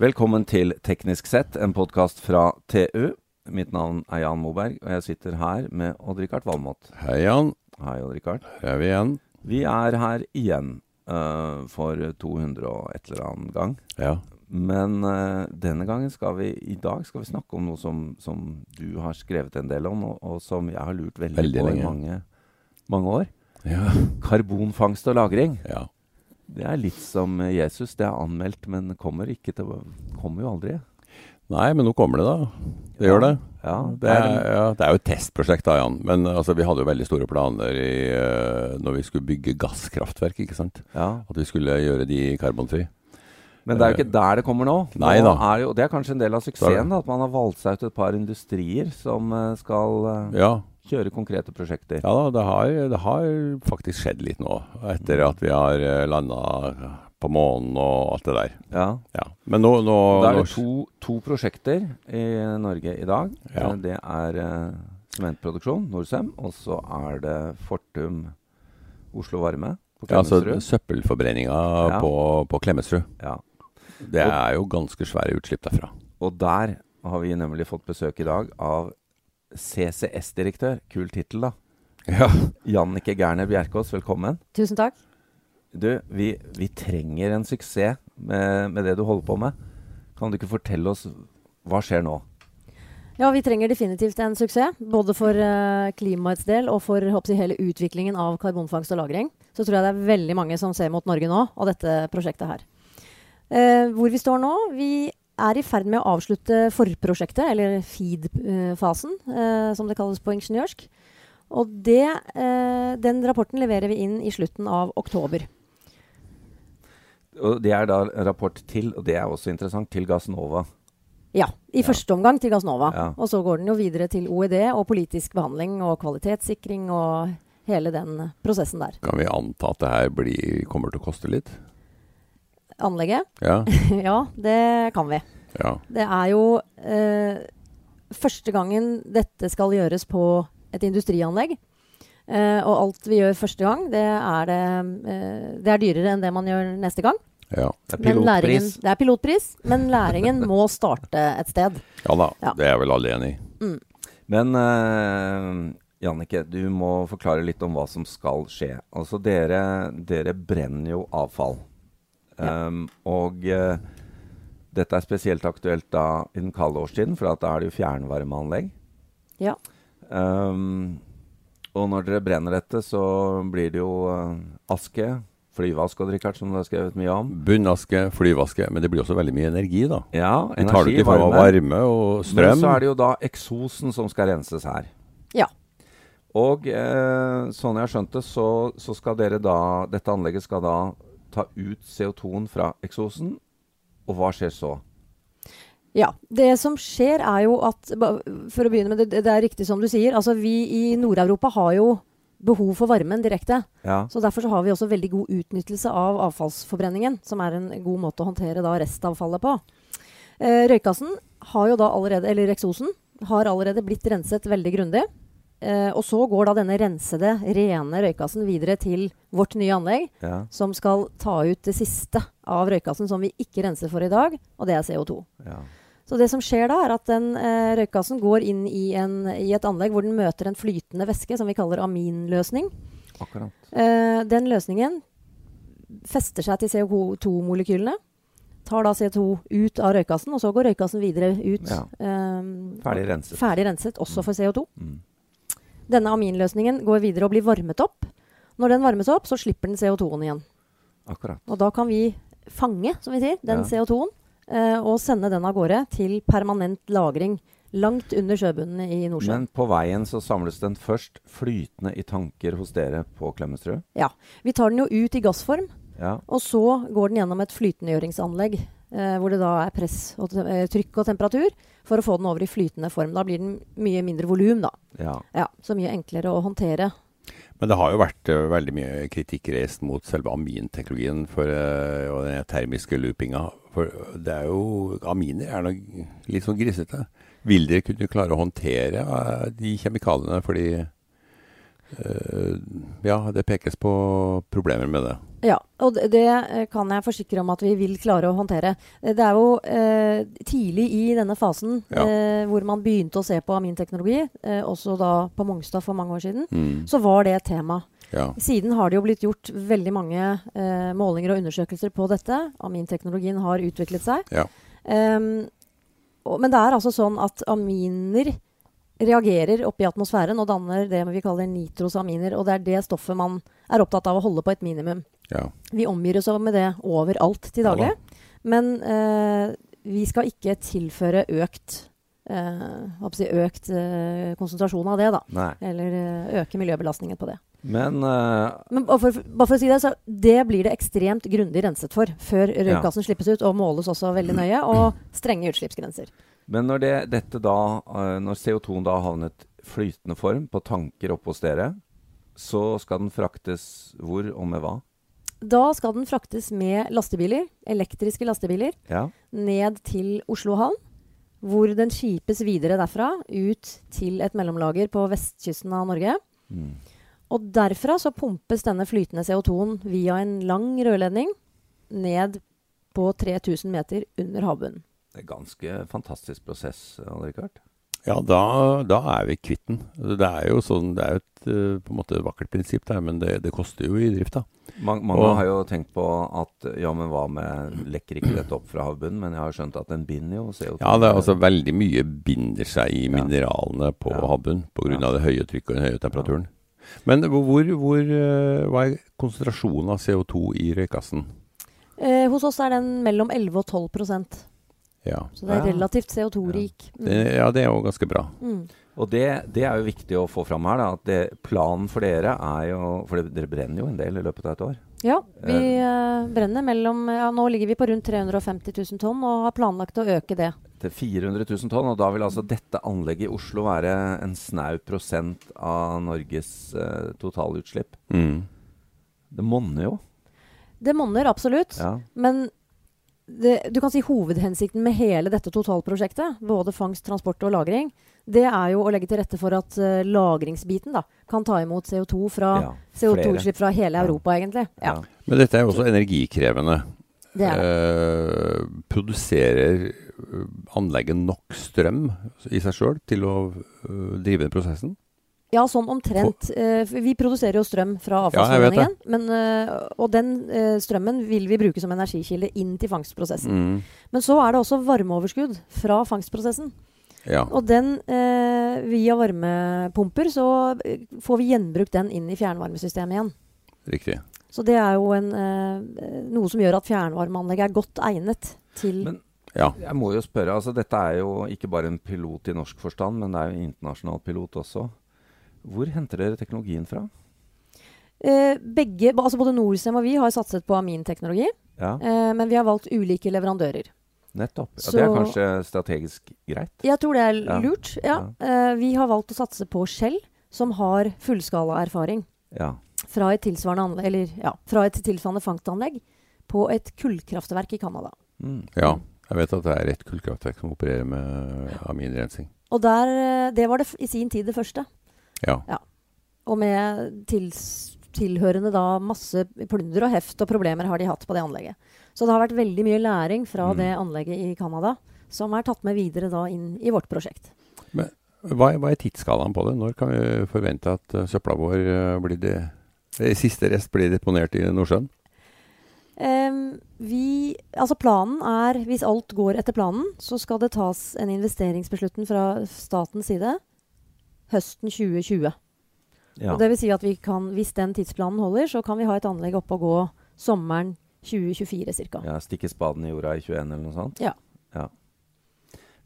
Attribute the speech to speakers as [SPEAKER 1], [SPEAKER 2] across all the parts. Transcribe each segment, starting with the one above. [SPEAKER 1] Velkommen til Teknisk sett, en podkast fra TU. Mitt navn er Jan Moberg, og jeg sitter her med Odd-Rikard Valmot.
[SPEAKER 2] Hei, Jan.
[SPEAKER 1] Hei, Odd-Rikard.
[SPEAKER 2] Her er vi igjen.
[SPEAKER 1] Vi er her igjen eh, for 200 og et eller annet gang.
[SPEAKER 2] Ja.
[SPEAKER 1] Men eh, denne gangen skal vi, i dag skal vi snakke om noe som, som du har skrevet en del om, og, og som jeg har lurt veldig,
[SPEAKER 2] Veldig
[SPEAKER 1] på i
[SPEAKER 2] lenge.
[SPEAKER 1] mange, mange år.
[SPEAKER 2] Ja.
[SPEAKER 1] Karbonfangst og -lagring.
[SPEAKER 2] ja.
[SPEAKER 1] Det er litt som Jesus. Det er anmeldt, men kommer, ikke til, kommer jo aldri.
[SPEAKER 2] Nei, men nå kommer det, da. Det gjør det.
[SPEAKER 1] Ja,
[SPEAKER 2] Det er, ja, det er jo et testprosjekt, da, Jan. Men altså, vi hadde jo veldig store planer i, eh, når vi skulle bygge gasskraftverk, ikke sant.
[SPEAKER 1] ja.
[SPEAKER 2] At vi skulle gjøre de karbonfri.
[SPEAKER 1] Men det er jo ikke der det kommer nå. nå
[SPEAKER 2] Eh, Nei da.
[SPEAKER 1] Er det, jo, det er kanskje en del av suksessen da, at man har valgt seg ut et par industrier som eh, skal eh,
[SPEAKER 2] Ja.
[SPEAKER 1] kjøre konkrete prosjekter.
[SPEAKER 2] Ja da, det har, det har faktisk skjedd litt nå. Etter at vi har landa på månen og alt det der.
[SPEAKER 1] Ja.
[SPEAKER 2] Ja. Men nå, nå
[SPEAKER 1] Da er det
[SPEAKER 2] nå-
[SPEAKER 1] to, to prosjekter i Norge i dag.
[SPEAKER 2] Ja.
[SPEAKER 1] Eh, Det er eh, sementproduksjon, Norcem, og så er det Fortum Oslo Varme på
[SPEAKER 2] ja, altså,
[SPEAKER 1] Klemetsrud.
[SPEAKER 2] søppelforbrenninga
[SPEAKER 1] Ja.
[SPEAKER 2] på, på Klemetsrud.
[SPEAKER 1] Ja.
[SPEAKER 2] Det er jo ganske svære utslipp derfra.
[SPEAKER 1] Og der har vi nemlig fått besøk i dag av CCS-direktør, kul tittel da,
[SPEAKER 2] Ja.
[SPEAKER 1] Jannike Gerner Bjerkås, velkommen.
[SPEAKER 3] Tusen takk.
[SPEAKER 1] Du, vi, vi trenger en suksess med, med det du holder på med. Kan du ikke fortelle oss hva skjer nå?
[SPEAKER 3] Ja, vi trenger definitivt en suksess. Både for eh, klimaets del og for håper jeg, hele utviklingen av karbonfangst og -lagring. Så tror jeg det er veldig mange som ser mot Norge nå og dette prosjektet her. Eh, hvor vi står nå? Vi er i ferd med å avslutte forprosjektet, eller FEED-fasen, eh, som det kalles på ingeniørsk. Og det, eh, den rapporten leverer vi inn i slutten av oktober.
[SPEAKER 1] Og det er da en rapport til, og det er også interessant, til Gassnova.
[SPEAKER 3] Ja, i første omgang til Gassnova.
[SPEAKER 1] Ja.
[SPEAKER 3] Og så går den jo videre til OED og politisk behandling og kvalitetssikring og hele den prosessen der.
[SPEAKER 2] Kan vi anta at det her blir, kommer til å koste litt?
[SPEAKER 3] Anlegget?
[SPEAKER 2] Ja.
[SPEAKER 3] ja, det kan vi.
[SPEAKER 2] ja.
[SPEAKER 3] Det er jo eh, første gangen dette skal gjøres på et industrianlegg. Eh, og alt vi gjør første gang, det er, det, eh, det er dyrere enn det man gjør neste gang.
[SPEAKER 2] ja.
[SPEAKER 1] Det er
[SPEAKER 3] Men læringen,
[SPEAKER 1] pilotpris.
[SPEAKER 3] det er pilotpris, men læringen må starte et sted.
[SPEAKER 2] Ja da,
[SPEAKER 3] Ja.
[SPEAKER 2] det er vel alle enig i.
[SPEAKER 1] Men eh, Jannike, du må forklare litt om hva som skal skje. Altså, dere, dere brenner jo avfall. Um, og eh, dette er spesielt aktuelt da i den kalde årstiden, for at da er det jo fjernvarmeanlegg.
[SPEAKER 3] Ja.
[SPEAKER 1] Um, og når dere brenner dette, så blir det jo eh, aske. Flyvask og drikkert, som du har skrevet mye om.
[SPEAKER 2] Bunnaske, flyvaske, men det blir også veldig mye energi, da.
[SPEAKER 1] Ja,
[SPEAKER 2] Vi tar det ut i form av varme og strøm.
[SPEAKER 1] Men så er det jo da eksosen som skal renses her.
[SPEAKER 3] Ja.
[SPEAKER 1] Og eh, sånn jeg har skjønt det, så, så skal dere da Dette anlegget skal da ta ut CO2-en fra eksosen. Og hva skjer så?
[SPEAKER 3] Ja. Det som skjer er jo at ba- For å begynne med det, det er riktig som du sier. Altså vi i Nord-Europa har jo behov for varmen direkte.
[SPEAKER 1] Ja.
[SPEAKER 3] Så derfor så har vi også veldig god utnyttelse av avfallsforbrenningen, som er en god måte å håndtere da restavfallet på. Eh, røykassen har jo da allerede, eller eksosen, har allerede blitt renset veldig grundig. Eh, og så går da denne rensede, rene røykassen videre til vårt nye anlegg,
[SPEAKER 1] ja.
[SPEAKER 3] som skal ta ut det siste av røykassen som vi ikke renser for i dag, og det er CO2.
[SPEAKER 1] ja.
[SPEAKER 3] Så det som skjer da, er at den eh, røykgassen går inn i, en, i et anlegg hvor den møter en flytende væske som vi kaller aminløsning.
[SPEAKER 1] Akkurat.
[SPEAKER 3] Eh, den løsningen fester seg til CO2-molekylene, tar da CO2 ut av røykgassen, og så går røykgassen videre ut.
[SPEAKER 1] Ja.
[SPEAKER 3] eh,
[SPEAKER 1] Ferdig renset.
[SPEAKER 3] ferdig renset, også for CO2.
[SPEAKER 1] Mm.
[SPEAKER 3] Denne aminløsningen går videre og blir varmet opp. Når den varmes opp, så slipper den CO2-en igjen.
[SPEAKER 1] Akkurat.
[SPEAKER 3] Og da kan vi fange, som vi sier, den
[SPEAKER 1] Ja.
[SPEAKER 3] CO2-en eh, og sende den av gårde til permanent lagring langt under sjøbunnen i
[SPEAKER 1] Men
[SPEAKER 3] Nordsjøen.
[SPEAKER 1] på veien så samles den først flytende i tanker hos dere på Klemetsrud.
[SPEAKER 3] Ja. Vi tar den jo ut i gassform,
[SPEAKER 1] Ja.
[SPEAKER 3] og så går den gjennom et flytendegjøringsanlegg. Eh, hvor det da er press og te- eh, trykk og temperatur for å få den over i flytende form. Da blir den mye mindre volum, da.
[SPEAKER 1] ja.
[SPEAKER 3] Ja, så mye enklere å håndtere.
[SPEAKER 2] Men det har jo vært eh, veldig mye kritikk reist mot selve aminteknologien for, eh, og den termiske loopinga. For det er jo Aminer er noe litt sånn grisete. Vil dere kunne klare å håndtere eh, de kjemikaliene? Fordi Eh, ja, det pekes på problemer med det.
[SPEAKER 3] Ja, og det, det eh, kan jeg forsikre om at vi vil klare å håndtere. Eh, Det er jo eh, tidlig i denne fasen
[SPEAKER 2] Ja.
[SPEAKER 3] eh, hvor man begynte å se på aminteknologi, eh, også da på Mongstad for mange år siden,
[SPEAKER 2] Mm.
[SPEAKER 3] så var det et tema.
[SPEAKER 2] Ja.
[SPEAKER 3] Siden har det jo blitt gjort veldig mange eh, målinger og undersøkelser på dette. Aminteknologien har utviklet seg.
[SPEAKER 2] Ja.
[SPEAKER 3] Ehm, og, men det er altså sånn at aminer reagerer oppe i atmosfæren og danner det vi kaller nitrosaminer. Og det er det stoffet man er opptatt av å holde på et minimum.
[SPEAKER 2] ja.
[SPEAKER 3] Vi omgir oss med det overalt til
[SPEAKER 2] Ja da.
[SPEAKER 3] daglig. Men eh, vi skal ikke tilføre økt, eh, hva skal jeg si, økt eh, konsentrasjon av det, da.
[SPEAKER 1] Nei.
[SPEAKER 3] Eller eh, øke miljøbelastningen på det.
[SPEAKER 1] Men eh,
[SPEAKER 3] Men bare for, bare for å si det, så det blir det ekstremt grundig renset for før røykgassen slippes ut, og måles også veldig nøye, og strenge utslippsgrenser.
[SPEAKER 1] Men når, det, dette da, eh, når CO2-en da har havnet flytende form på tanker oppe hos dere, så skal den fraktes hvor og med hva?
[SPEAKER 3] Da skal den fraktes med lastebiler, elektriske lastebiler,
[SPEAKER 1] Ja.
[SPEAKER 3] ned til Oslo havn, hvor den skipes videre derfra ut til et mellomlager på vestkysten av Norge.
[SPEAKER 1] Mm.
[SPEAKER 3] Og derfra så pumpes denne flytende CO2-en via en lang rørledning ned på 3000 meter under havbunnen.
[SPEAKER 1] Det er ganske fantastisk prosess, Richard.
[SPEAKER 2] Ja, da, da er vi kvitt den. Det er jo sånn, det er jo et eh, på en måte vakkert prinsipp, der, men det, det koster jo i drifta.
[SPEAKER 1] Man, mange
[SPEAKER 2] Og-
[SPEAKER 1] har jo tenkt på at ja, men hva med Lekker ikke dette opp fra havbunnen? Men jeg har skjønt at den binder jo CO2.
[SPEAKER 2] Ja, det er altså veldig mye binder seg i
[SPEAKER 1] Ja.
[SPEAKER 2] mineralene på
[SPEAKER 1] Ja.
[SPEAKER 2] havbunnen pga.
[SPEAKER 1] Ja.
[SPEAKER 2] av det høye trykket og den høye temperaturen. Men hvor, hvor, hvor, eh, hva er konsentrasjonen av CO2 i røykassen?
[SPEAKER 3] Eh, hos oss er den mellom 11 og 12 prosent.
[SPEAKER 2] Ja.
[SPEAKER 3] Så det er
[SPEAKER 1] Ja.
[SPEAKER 3] relativt CO2-rik.
[SPEAKER 2] Det,
[SPEAKER 3] Mm.
[SPEAKER 2] ja, det er jo ganske bra.
[SPEAKER 3] Mm.
[SPEAKER 1] Og det, det er jo viktig å få fram her, da, at det, planen for dere er jo For det- dere brenner jo en del i løpet av et år.
[SPEAKER 3] Ja, vi eh, brenner mellom ja, Nå ligger vi på rundt 350 000 tonn og har planlagt å øke det.
[SPEAKER 1] til 400 000 tonn. Og da vil altså dette anlegget i Oslo være en snau prosent av Norges eh, totalutslipp.
[SPEAKER 2] Mm.
[SPEAKER 1] Det monner jo.
[SPEAKER 3] Det monner absolutt,
[SPEAKER 1] Ja.
[SPEAKER 3] men det, du kan si hovedhensikten med hele dette totalprosjektet, både fangst, transport og lagring, det er jo å legge til rette for at eh, lagringsbiten da, kan ta imot CO2 fra
[SPEAKER 1] Ja,
[SPEAKER 3] CO2-utslipp fra hele
[SPEAKER 1] Ja.
[SPEAKER 3] Europa, egentlig. Ja,
[SPEAKER 1] Ja.
[SPEAKER 2] Men dette er jo også energikrevende.
[SPEAKER 3] det er det.
[SPEAKER 2] Eh, produserer eh, anlegget nok strøm i seg sjøl til å eh, drive den prosessen?
[SPEAKER 3] Ja, sånn omtrent. Eh, for vi produserer jo strøm fra
[SPEAKER 2] Ja, jeg vet det.
[SPEAKER 3] avfallsforbrenningen. men, eh, og den eh, strømmen vil vi bruke som energikilde inn til fangstprosessen.
[SPEAKER 2] Mm.
[SPEAKER 3] Men så er det også varmeoverskudd fra fangstprosessen.
[SPEAKER 2] Ja.
[SPEAKER 3] Og den, eh, via varmepumper, så eh, får vi gjenbrukt den inn i fjernvarmesystemet igjen.
[SPEAKER 2] Riktig.
[SPEAKER 3] Så det er jo en, eh, noe som gjør at fjernvarmeanlegget er godt egnet til
[SPEAKER 1] Men-
[SPEAKER 2] Ja.
[SPEAKER 1] Jeg må jo spørre, altså Dette er jo ikke bare en pilot i norsk forstand, men det er jo en internasjonal pilot også. Hvor henter dere teknologien fra?
[SPEAKER 3] eh, begge, altså Både Norcem og vi har satset på aminteknologi,
[SPEAKER 1] Ja,
[SPEAKER 3] eh, men vi har valgt ulike leverandører.
[SPEAKER 1] nettopp. Ja,
[SPEAKER 3] Så-
[SPEAKER 1] det er kanskje strategisk greit?
[SPEAKER 3] Jeg tror det er
[SPEAKER 1] Ja.
[SPEAKER 3] lurt. Ja. Eh, vi har valgt å satse på Shell, som har fullskalaerfaring
[SPEAKER 1] Ja.
[SPEAKER 3] fra et tilsvarende, anle- eller, ja, fra et tilsvarende fangstanlegg på et kullkraftverk i Canada.
[SPEAKER 1] Mm.
[SPEAKER 2] ja. Jeg vet at det er ett kullkraftverk som opererer med aminrensing.
[SPEAKER 3] Og der, eh, det var det f i sin tid det første.
[SPEAKER 2] Ja.
[SPEAKER 3] Og med tils tilhørende da masse plunder og heft og problemer har de hatt på det anlegget. Så det har vært veldig mye læring fra
[SPEAKER 1] Mm.
[SPEAKER 3] det anlegget i Canada som er tatt med videre da inn i vårt prosjekt.
[SPEAKER 2] Hva, er- hva er tidsskalaen på det? Når kan vi forvente at eh, søpla vår eh, blir det, det siste rest blir deponert i Nordsjøen?
[SPEAKER 3] Ehm, vi, altså planen er, hvis alt går etter planen, så skal det tas en investeringsbeslutning fra statens side høsten 2020.
[SPEAKER 1] Ja.
[SPEAKER 3] Og det vil si at vi kan, hvis den tidsplanen holder, så kan vi ha et anlegg oppe og gå sommeren 2024 ca.
[SPEAKER 1] ja, Stikke spaden i jorda i 21 eller noe sånt?
[SPEAKER 3] Ja.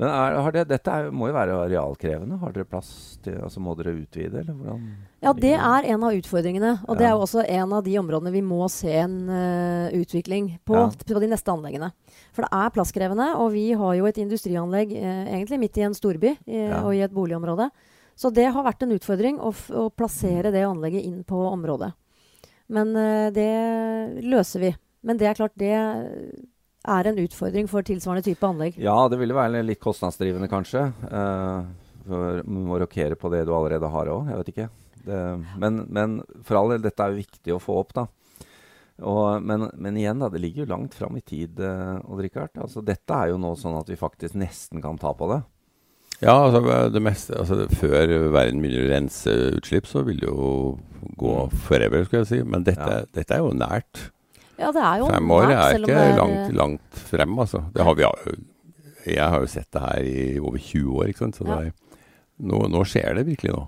[SPEAKER 1] Men er, har det, dette er, jo- må jo være arealkrevende? Har dere plass til altså Må dere utvide, eller hvordan?
[SPEAKER 3] Ja, det er en av utfordringene. Og det
[SPEAKER 1] Ja.
[SPEAKER 3] er jo også en av de områdene vi må se en eh, utvikling på,
[SPEAKER 1] Ja.
[SPEAKER 3] på de neste anleggene. For det er plasskrevende, og vi har jo et industrianlegg eh, egentlig midt i en storby eh,
[SPEAKER 1] Ja.
[SPEAKER 3] og i et boligområde. Så det har vært en utfordring å, f å plassere det anlegget inn på området. Men eh, det løser vi. Men det er klart, det er en utfordring for tilsvarende type anlegg.
[SPEAKER 1] Ja, det ville være litt kostnadsdrivende kanskje. eh, for du må rokere på det du allerede har òg. Jeg vet ikke. Det, men, men for all del, dette er jo viktig å få opp, da. Og, men, men igjen, da, det ligger jo langt fram i tid, eh, Odd Rikard. Altså, dette er jo nå sånn at vi faktisk nesten kan ta på det.
[SPEAKER 2] Ja, altså det meste altså, Før verden begynner å rense utslipp, så vil det jo gå forever, skulle jeg si. Men dette,
[SPEAKER 1] Ja.
[SPEAKER 2] dette er jo nært.
[SPEAKER 3] Ja, det er jo
[SPEAKER 2] Fem år
[SPEAKER 3] nært,
[SPEAKER 2] er
[SPEAKER 3] selv om
[SPEAKER 2] ikke
[SPEAKER 3] det er, eh,
[SPEAKER 2] langt, langt frem, altså. Det har vi, jeg har jo sett det her i over 20 år, ikke sant. Så
[SPEAKER 3] Ja.
[SPEAKER 2] det er, nå, nå skjer det virkelig nå.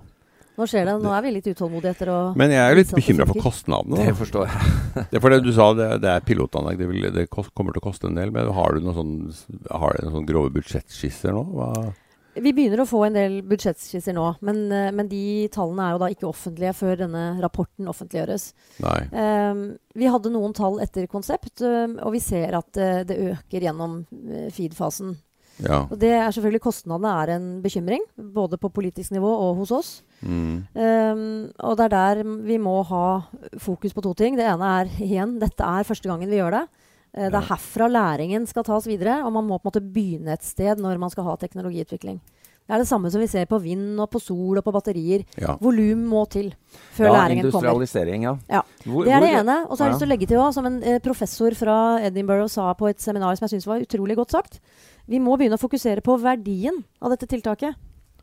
[SPEAKER 3] Nå skjer det. Nå er vi litt utålmodige etter å
[SPEAKER 2] Men jeg er jo litt
[SPEAKER 3] Ikke sant, det
[SPEAKER 2] bekymra for
[SPEAKER 3] funker.
[SPEAKER 2] kostnadene. da.
[SPEAKER 1] Det forstår jeg.
[SPEAKER 2] Det er for det du sa, det, det er pilotanlegg. Det, vil, det kost, kommer til å koste en del. Men har du noen sånn, har du noen sånn grove budsjettskisser nå? Hva?
[SPEAKER 3] Vi begynner å få en del budsjettskisser nå, men, eh, men de tallene er jo da ikke offentlige før denne rapporten offentliggjøres.
[SPEAKER 2] Nei.
[SPEAKER 3] Ehm, vi hadde noen tall etter konsept, ehm, og vi ser at eh, det øker gjennom eh, feed-fasen.
[SPEAKER 2] Ja.
[SPEAKER 3] Og det er selvfølgelig kostnadene er en bekymring, både på politisk nivå og hos oss.
[SPEAKER 2] Mm.
[SPEAKER 3] Ehm, og det er der vi må ha fokus på to ting. Det ene er igjen, dette er første gangen vi gjør det. Eh, Det er herfra læringen skal tas videre, og man må på en måte begynne et sted når man skal ha teknologiutvikling. Det er det samme som vi ser på vind og på sol og på batterier.
[SPEAKER 2] ja.
[SPEAKER 3] Volum må til før
[SPEAKER 1] ja,
[SPEAKER 3] læringen kommer.
[SPEAKER 1] industrialisering, ja.
[SPEAKER 3] Ja.
[SPEAKER 1] Hvor-
[SPEAKER 3] Det er det
[SPEAKER 1] hvor-
[SPEAKER 3] ene. Og så har jeg
[SPEAKER 1] Ja.
[SPEAKER 3] lyst til å legge til, også, som en eh, professor fra Edinburgh sa på et seminar som jeg syns var utrolig godt sagt, vi må begynne å fokusere på verdien av dette tiltaket,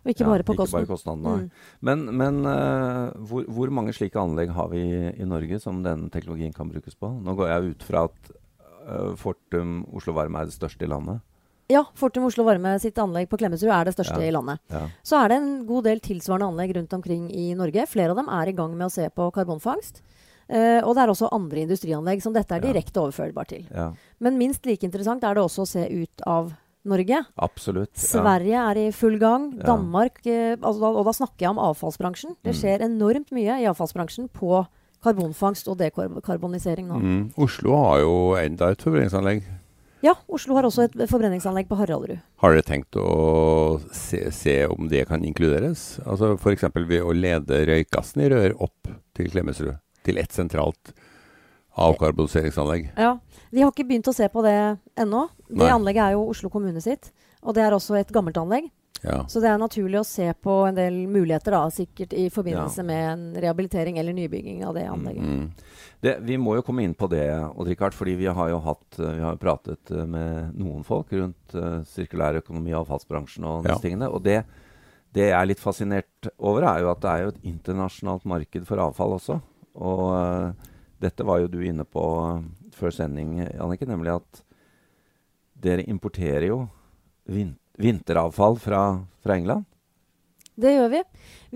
[SPEAKER 3] og ikke
[SPEAKER 1] Ja,
[SPEAKER 3] bare på kosten.
[SPEAKER 1] Ikke bare kostnaden, nei.
[SPEAKER 3] Mm.
[SPEAKER 1] Men, men eh, hvor, hvor mange slike anlegg har vi i Norge som denne teknologien kan brukes på? Nå går jeg ut fra at eh, Fortum Oslo Varme er det største i landet.
[SPEAKER 3] Ja, Fortum Oslo Varme sitt anlegg på Klemetsrud er det største
[SPEAKER 1] Ja.
[SPEAKER 3] i landet.
[SPEAKER 1] Ja.
[SPEAKER 3] Så er det en god del tilsvarende anlegg rundt omkring i Norge. Flere av dem er i gang med å se på karbonfangst. Eh, og det er også andre industrianlegg som dette er
[SPEAKER 1] Ja.
[SPEAKER 3] direkte overførbar til.
[SPEAKER 1] ja.
[SPEAKER 3] Men minst like interessant er det også å se ut av Norge.
[SPEAKER 1] Absolutt. Ja.
[SPEAKER 3] Sverige er i full gang.
[SPEAKER 1] Ja. Mm.
[SPEAKER 3] Danmark eh, altså, da- Og da snakker jeg om avfallsbransjen. Det skjer enormt mye i avfallsbransjen på karbonfangst og dekarbonisering nå.
[SPEAKER 2] Mm. Oslo har jo enda et forbrenningsanlegg.
[SPEAKER 3] Ja, Oslo har også et forbrenningsanlegg på Haraldrud.
[SPEAKER 2] Har dere tenkt å se, se om det kan inkluderes? Altså F.eks. ved å lede røykgassen i rør opp til Klemetsrud. Til ett sentralt avkarboniseringsanlegg.
[SPEAKER 3] Ja, Vi har ikke begynt å se på det ennå. Det
[SPEAKER 2] Nei.
[SPEAKER 3] anlegget er jo Oslo kommune sitt. Og det er også et gammelt anlegg.
[SPEAKER 2] Ja.
[SPEAKER 3] Så det er naturlig å se på en del muligheter, da, sikkert i forbindelse
[SPEAKER 1] Ja.
[SPEAKER 3] med en rehabilitering eller nybygging av det anlegget.
[SPEAKER 2] Mm.
[SPEAKER 1] Det, vi må jo komme inn på det, Odd Rikard, fordi vi har jo hatt, eh, vi har jo pratet eh, med noen folk rundt eh, sirkulær økonomi og avfallsbransjen og disse
[SPEAKER 2] Ja.
[SPEAKER 1] tingene. Og det, det jeg er litt fascinert over, er jo at det er jo et internasjonalt marked for avfall også. Og eh, dette var jo du inne på eh, før sending, Jannicke, nemlig at dere importerer jo vin vinteravfall fra, fra England.
[SPEAKER 3] Det gjør vi.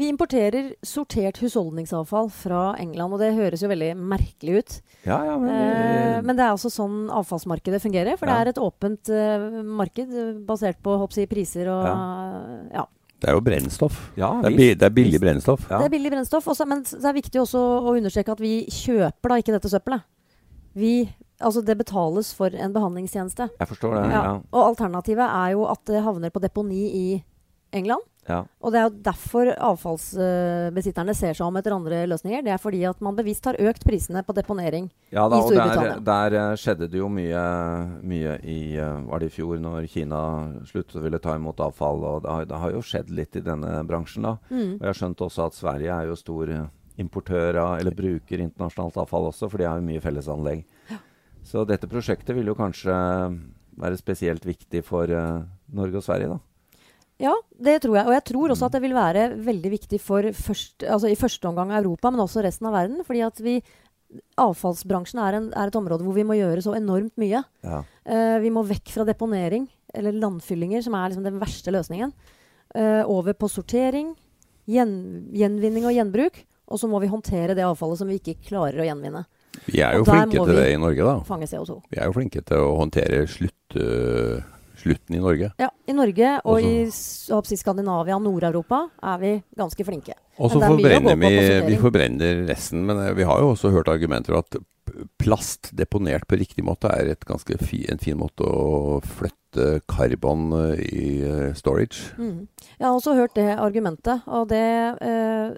[SPEAKER 3] Vi importerer sortert husholdningsavfall fra England, og det høres jo veldig merkelig ut.
[SPEAKER 1] Ja, ja, men,
[SPEAKER 3] Eh, men det er altså sånn avfallsmarkedet fungerer, for det
[SPEAKER 1] Ja.
[SPEAKER 3] er et åpent eh, marked eh, basert på håper jeg, priser og ja.
[SPEAKER 2] Det er jo brennstoff.
[SPEAKER 1] ja,
[SPEAKER 2] Det
[SPEAKER 1] visst.
[SPEAKER 2] er, bi det er billig brennstoff.
[SPEAKER 1] Ja.
[SPEAKER 3] Det er billig brennstoff, også, men s- det er viktig også å understreke at vi kjøper da ikke dette søppelet. Vi, altså det betales for en behandlingstjeneste.
[SPEAKER 1] Jeg forstår det.
[SPEAKER 3] Ja.
[SPEAKER 1] Ja.
[SPEAKER 3] Og alternativet er jo at det havner på deponi i England.
[SPEAKER 1] Ja.
[SPEAKER 3] Og det er jo derfor avfallsbesitterne ser seg om etter andre løsninger. Det er fordi at man bevisst har økt prisene på deponering.
[SPEAKER 1] Ja, da,
[SPEAKER 3] i
[SPEAKER 1] og der,
[SPEAKER 3] Storbritannia.
[SPEAKER 1] der eh, skjedde det jo mye, mye i eh, Var det i fjor, når Kina sluttet å ville ta imot avfall? Og det har, det har jo skjedd litt i denne bransjen, da. Og jeg har skjønt også at Sverige er jo stor eh, importør av, eller bruker internasjonalt avfall også, for de har jo mye fellesanlegg. Så dette prosjektet vil jo kanskje eh, være spesielt viktig for eh, Norge og Sverige, da.
[SPEAKER 3] Ja, det tror jeg. Og jeg tror også at det vil være veldig viktig for først, altså i første omgang Europa, men også resten av verden. Fordi at vi Avfallsbransjen er, en, er et område hvor vi må gjøre så enormt mye.
[SPEAKER 1] Ja.
[SPEAKER 3] Eh, vi må vekk fra deponering, eller landfyllinger, som er liksom den verste løsningen. eh, over på sortering, gjen, gjenvinning og gjenbruk. Og så må vi håndtere det avfallet som vi ikke klarer å gjenvinne.
[SPEAKER 2] Vi er jo
[SPEAKER 3] Og der
[SPEAKER 2] flinke
[SPEAKER 3] må
[SPEAKER 2] til
[SPEAKER 3] vi-
[SPEAKER 2] det i Norge, da.
[SPEAKER 3] Fange CO2.
[SPEAKER 2] Vi er jo flinke til å håndtere slutt, øh, slutten i Norge.
[SPEAKER 3] Ja, I Norge
[SPEAKER 2] Og
[SPEAKER 3] og
[SPEAKER 2] så-
[SPEAKER 3] i s- håper jeg, Skandinavia og Nord-Europa er vi ganske flinke.
[SPEAKER 2] Og så
[SPEAKER 3] Men det er mye å gå
[SPEAKER 2] forbrenner
[SPEAKER 3] på
[SPEAKER 2] vi,
[SPEAKER 3] på sortering.
[SPEAKER 2] vi forbrenner resten, men eh, vi har jo også hørt argumenter om at p- plast deponert på riktig måte er et ganske fi, en fin måte å flytte karbon eh, i eh, storage.
[SPEAKER 3] Mm. Jeg har også hørt det argumentet, og det, eh,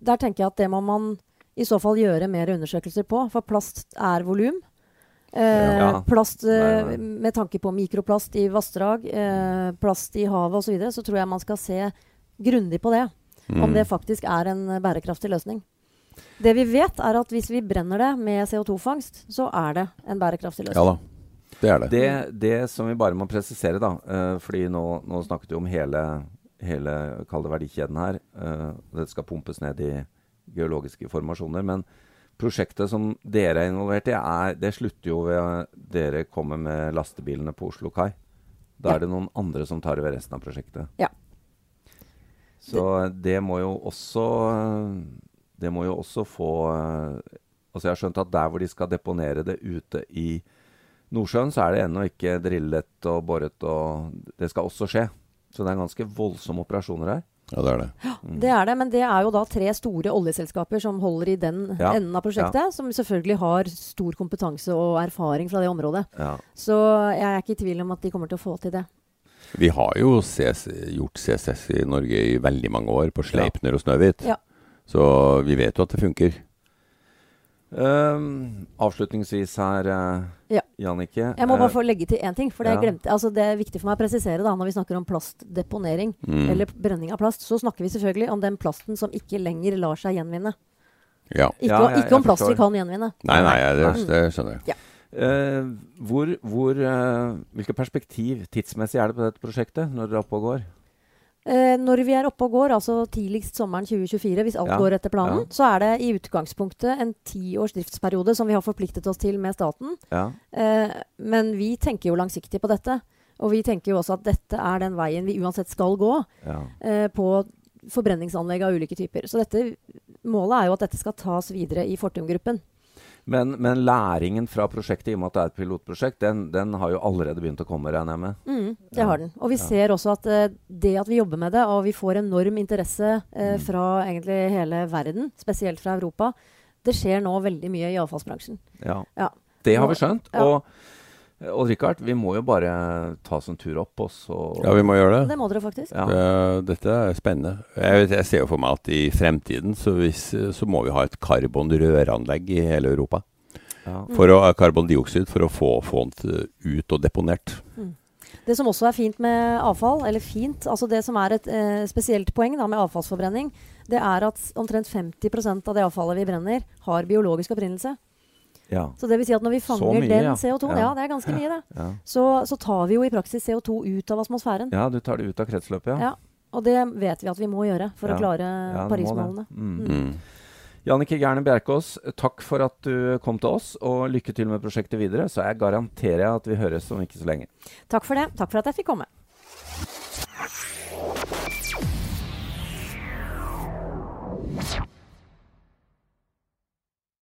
[SPEAKER 3] der tenker jeg at det må man i så fall gjøre mer undersøkelser på, for plast er volum. Eh,
[SPEAKER 1] Ja.
[SPEAKER 3] Plast eh,
[SPEAKER 1] Nei, nei.
[SPEAKER 3] med tanke på mikroplast i vassdrag, eh, plast i havet osv., så, videre, så tror jeg man skal se grundig på det.
[SPEAKER 1] Mm.
[SPEAKER 3] om
[SPEAKER 2] Mm.
[SPEAKER 3] det faktisk er en eh, bærekraftig løsning. Det vi vet, er at hvis vi brenner det med CO2-fangst, så er det en bærekraftig løsning.
[SPEAKER 2] Ja da, det er det.
[SPEAKER 1] Det, det som vi bare må presisere, da, eh, fordi nå, nå snakket vi om hele, hele kall det verdikjeden her. eh, det skal pumpes ned i geologiske formasjoner. Men prosjektet som dere er involvert i, er, det slutter jo ved dere kommer med lastebilene på Oslo kai. Da
[SPEAKER 3] Ja.
[SPEAKER 1] er det noen andre som tar over resten av prosjektet.
[SPEAKER 3] Ja.
[SPEAKER 1] Så det må jo også eh, Det må jo også få eh, Altså jeg har skjønt at der hvor de skal deponere det ute i Nordsjøen, så er det ennå ikke drillet og boret og Det skal også skje. Så det er ganske voldsomme operasjoner her.
[SPEAKER 2] Ja, det er det.
[SPEAKER 1] Mm.
[SPEAKER 3] Det er det, men det er jo da tre store oljeselskaper som holder i den
[SPEAKER 1] Ja,
[SPEAKER 3] enden av prosjektet, som selvfølgelig har stor kompetanse og erfaring fra det området.
[SPEAKER 1] Ja.
[SPEAKER 3] Så jeg er ikke i tvil om at de kommer til å få til det.
[SPEAKER 2] Vi har jo CS, gjort CCS i Norge i veldig mange år, på Sleipner og Snøhvit.
[SPEAKER 3] Ja.
[SPEAKER 2] Så vi vet jo at det funker.
[SPEAKER 1] Ehm, avslutningsvis her, eh,
[SPEAKER 3] Ja.
[SPEAKER 1] Jannicke.
[SPEAKER 3] Jeg må bare
[SPEAKER 1] eh,
[SPEAKER 3] få legge til én ting, for det,
[SPEAKER 1] ja.
[SPEAKER 3] glemte, altså det er viktig for meg å presisere da, når vi snakker om plastdeponering
[SPEAKER 1] Mm.
[SPEAKER 2] Mm.
[SPEAKER 3] eller brenning av plast, så snakker vi selvfølgelig om den plasten som ikke lenger lar seg gjenvinne.
[SPEAKER 2] Ja.
[SPEAKER 3] Ikke,
[SPEAKER 1] Ja, jeg-
[SPEAKER 3] ikke om
[SPEAKER 1] jeg
[SPEAKER 3] plast vi
[SPEAKER 1] forstår.
[SPEAKER 3] kan gjenvinne.
[SPEAKER 2] Nei, nei, det, det skjønner jeg.
[SPEAKER 1] eh, hvor, hvor, eh, hvilket perspektiv tidsmessig er det på dette prosjektet når dere er oppe og går?
[SPEAKER 3] Eh, når vi er oppe og går, altså tidligst sommeren 2024, hvis alt
[SPEAKER 1] Ja,
[SPEAKER 3] går etter planen,
[SPEAKER 1] ja.
[SPEAKER 3] så er det i utgangspunktet en tiårs driftsperiode som vi har forpliktet oss til med staten.
[SPEAKER 1] Ja.
[SPEAKER 3] Eh, men vi tenker jo langsiktig på dette. Og vi tenker jo også at dette er den veien vi uansett skal gå
[SPEAKER 1] ja.
[SPEAKER 3] eh, på forbrenningsanlegg av ulike typer. Så dette, målet er jo at dette skal tas videre i Fortum-gruppen.
[SPEAKER 1] Men, men læringen fra prosjektet, i og med at det er et pilotprosjekt, den, den har jo allerede begynt å komme, regner jeg med.
[SPEAKER 3] Mm, det
[SPEAKER 1] Ja.
[SPEAKER 3] har den. Og vi ser også at eh, det at vi jobber med det, og vi får enorm interesse
[SPEAKER 1] Mm.
[SPEAKER 3] eh, fra egentlig hele verden, spesielt fra Europa, det skjer nå veldig mye i avfallsbransjen.
[SPEAKER 1] Ja.
[SPEAKER 3] Ja.
[SPEAKER 1] Det har vi skjønt.
[SPEAKER 3] Ja.
[SPEAKER 1] Og, og Richard, vi må jo bare ta oss en tur opp, og så
[SPEAKER 2] Ja, vi må gjøre det.
[SPEAKER 3] Det må dere faktisk.
[SPEAKER 1] Ja.
[SPEAKER 2] Eh, Dette er spennende. Jeg, vet, jeg ser jo for meg at i fremtiden så, hvis, så må vi ha et karbonrøranlegg i hele Europa.
[SPEAKER 1] Ja.
[SPEAKER 2] For å, eh, karbondioksid for å få få den ut og deponert.
[SPEAKER 3] Det som også er fint med avfall, eller fint, altså det som er et eh, spesielt poeng da, med avfallsforbrenning, det er at omtrent 50 av det avfallet vi brenner, har biologisk opprinnelse.
[SPEAKER 1] Ja.
[SPEAKER 3] Så det vil si at når vi
[SPEAKER 1] Så
[SPEAKER 3] fanger
[SPEAKER 1] mye,
[SPEAKER 3] den
[SPEAKER 1] ja.
[SPEAKER 3] CO2-en,
[SPEAKER 1] Ja.
[SPEAKER 3] ja. det er ganske mye det,
[SPEAKER 1] Ja.
[SPEAKER 3] så, så tar vi jo i praksis CO2 ut av atmosfæren.
[SPEAKER 1] ja, du tar det ut av kretsløpet, ja.
[SPEAKER 3] Ja. Og det vet vi at vi må gjøre for
[SPEAKER 1] Ja.
[SPEAKER 3] å klare
[SPEAKER 1] Ja, du må det.
[SPEAKER 3] Paris-målene.
[SPEAKER 1] Mm.
[SPEAKER 2] Mm.
[SPEAKER 1] Jannicke Gerne Bjerkås, takk for at du kom til oss, og lykke til med prosjektet videre. Så jeg garanterer at vi høres om ikke så lenge.
[SPEAKER 3] Takk for det. Takk for at jeg fikk komme.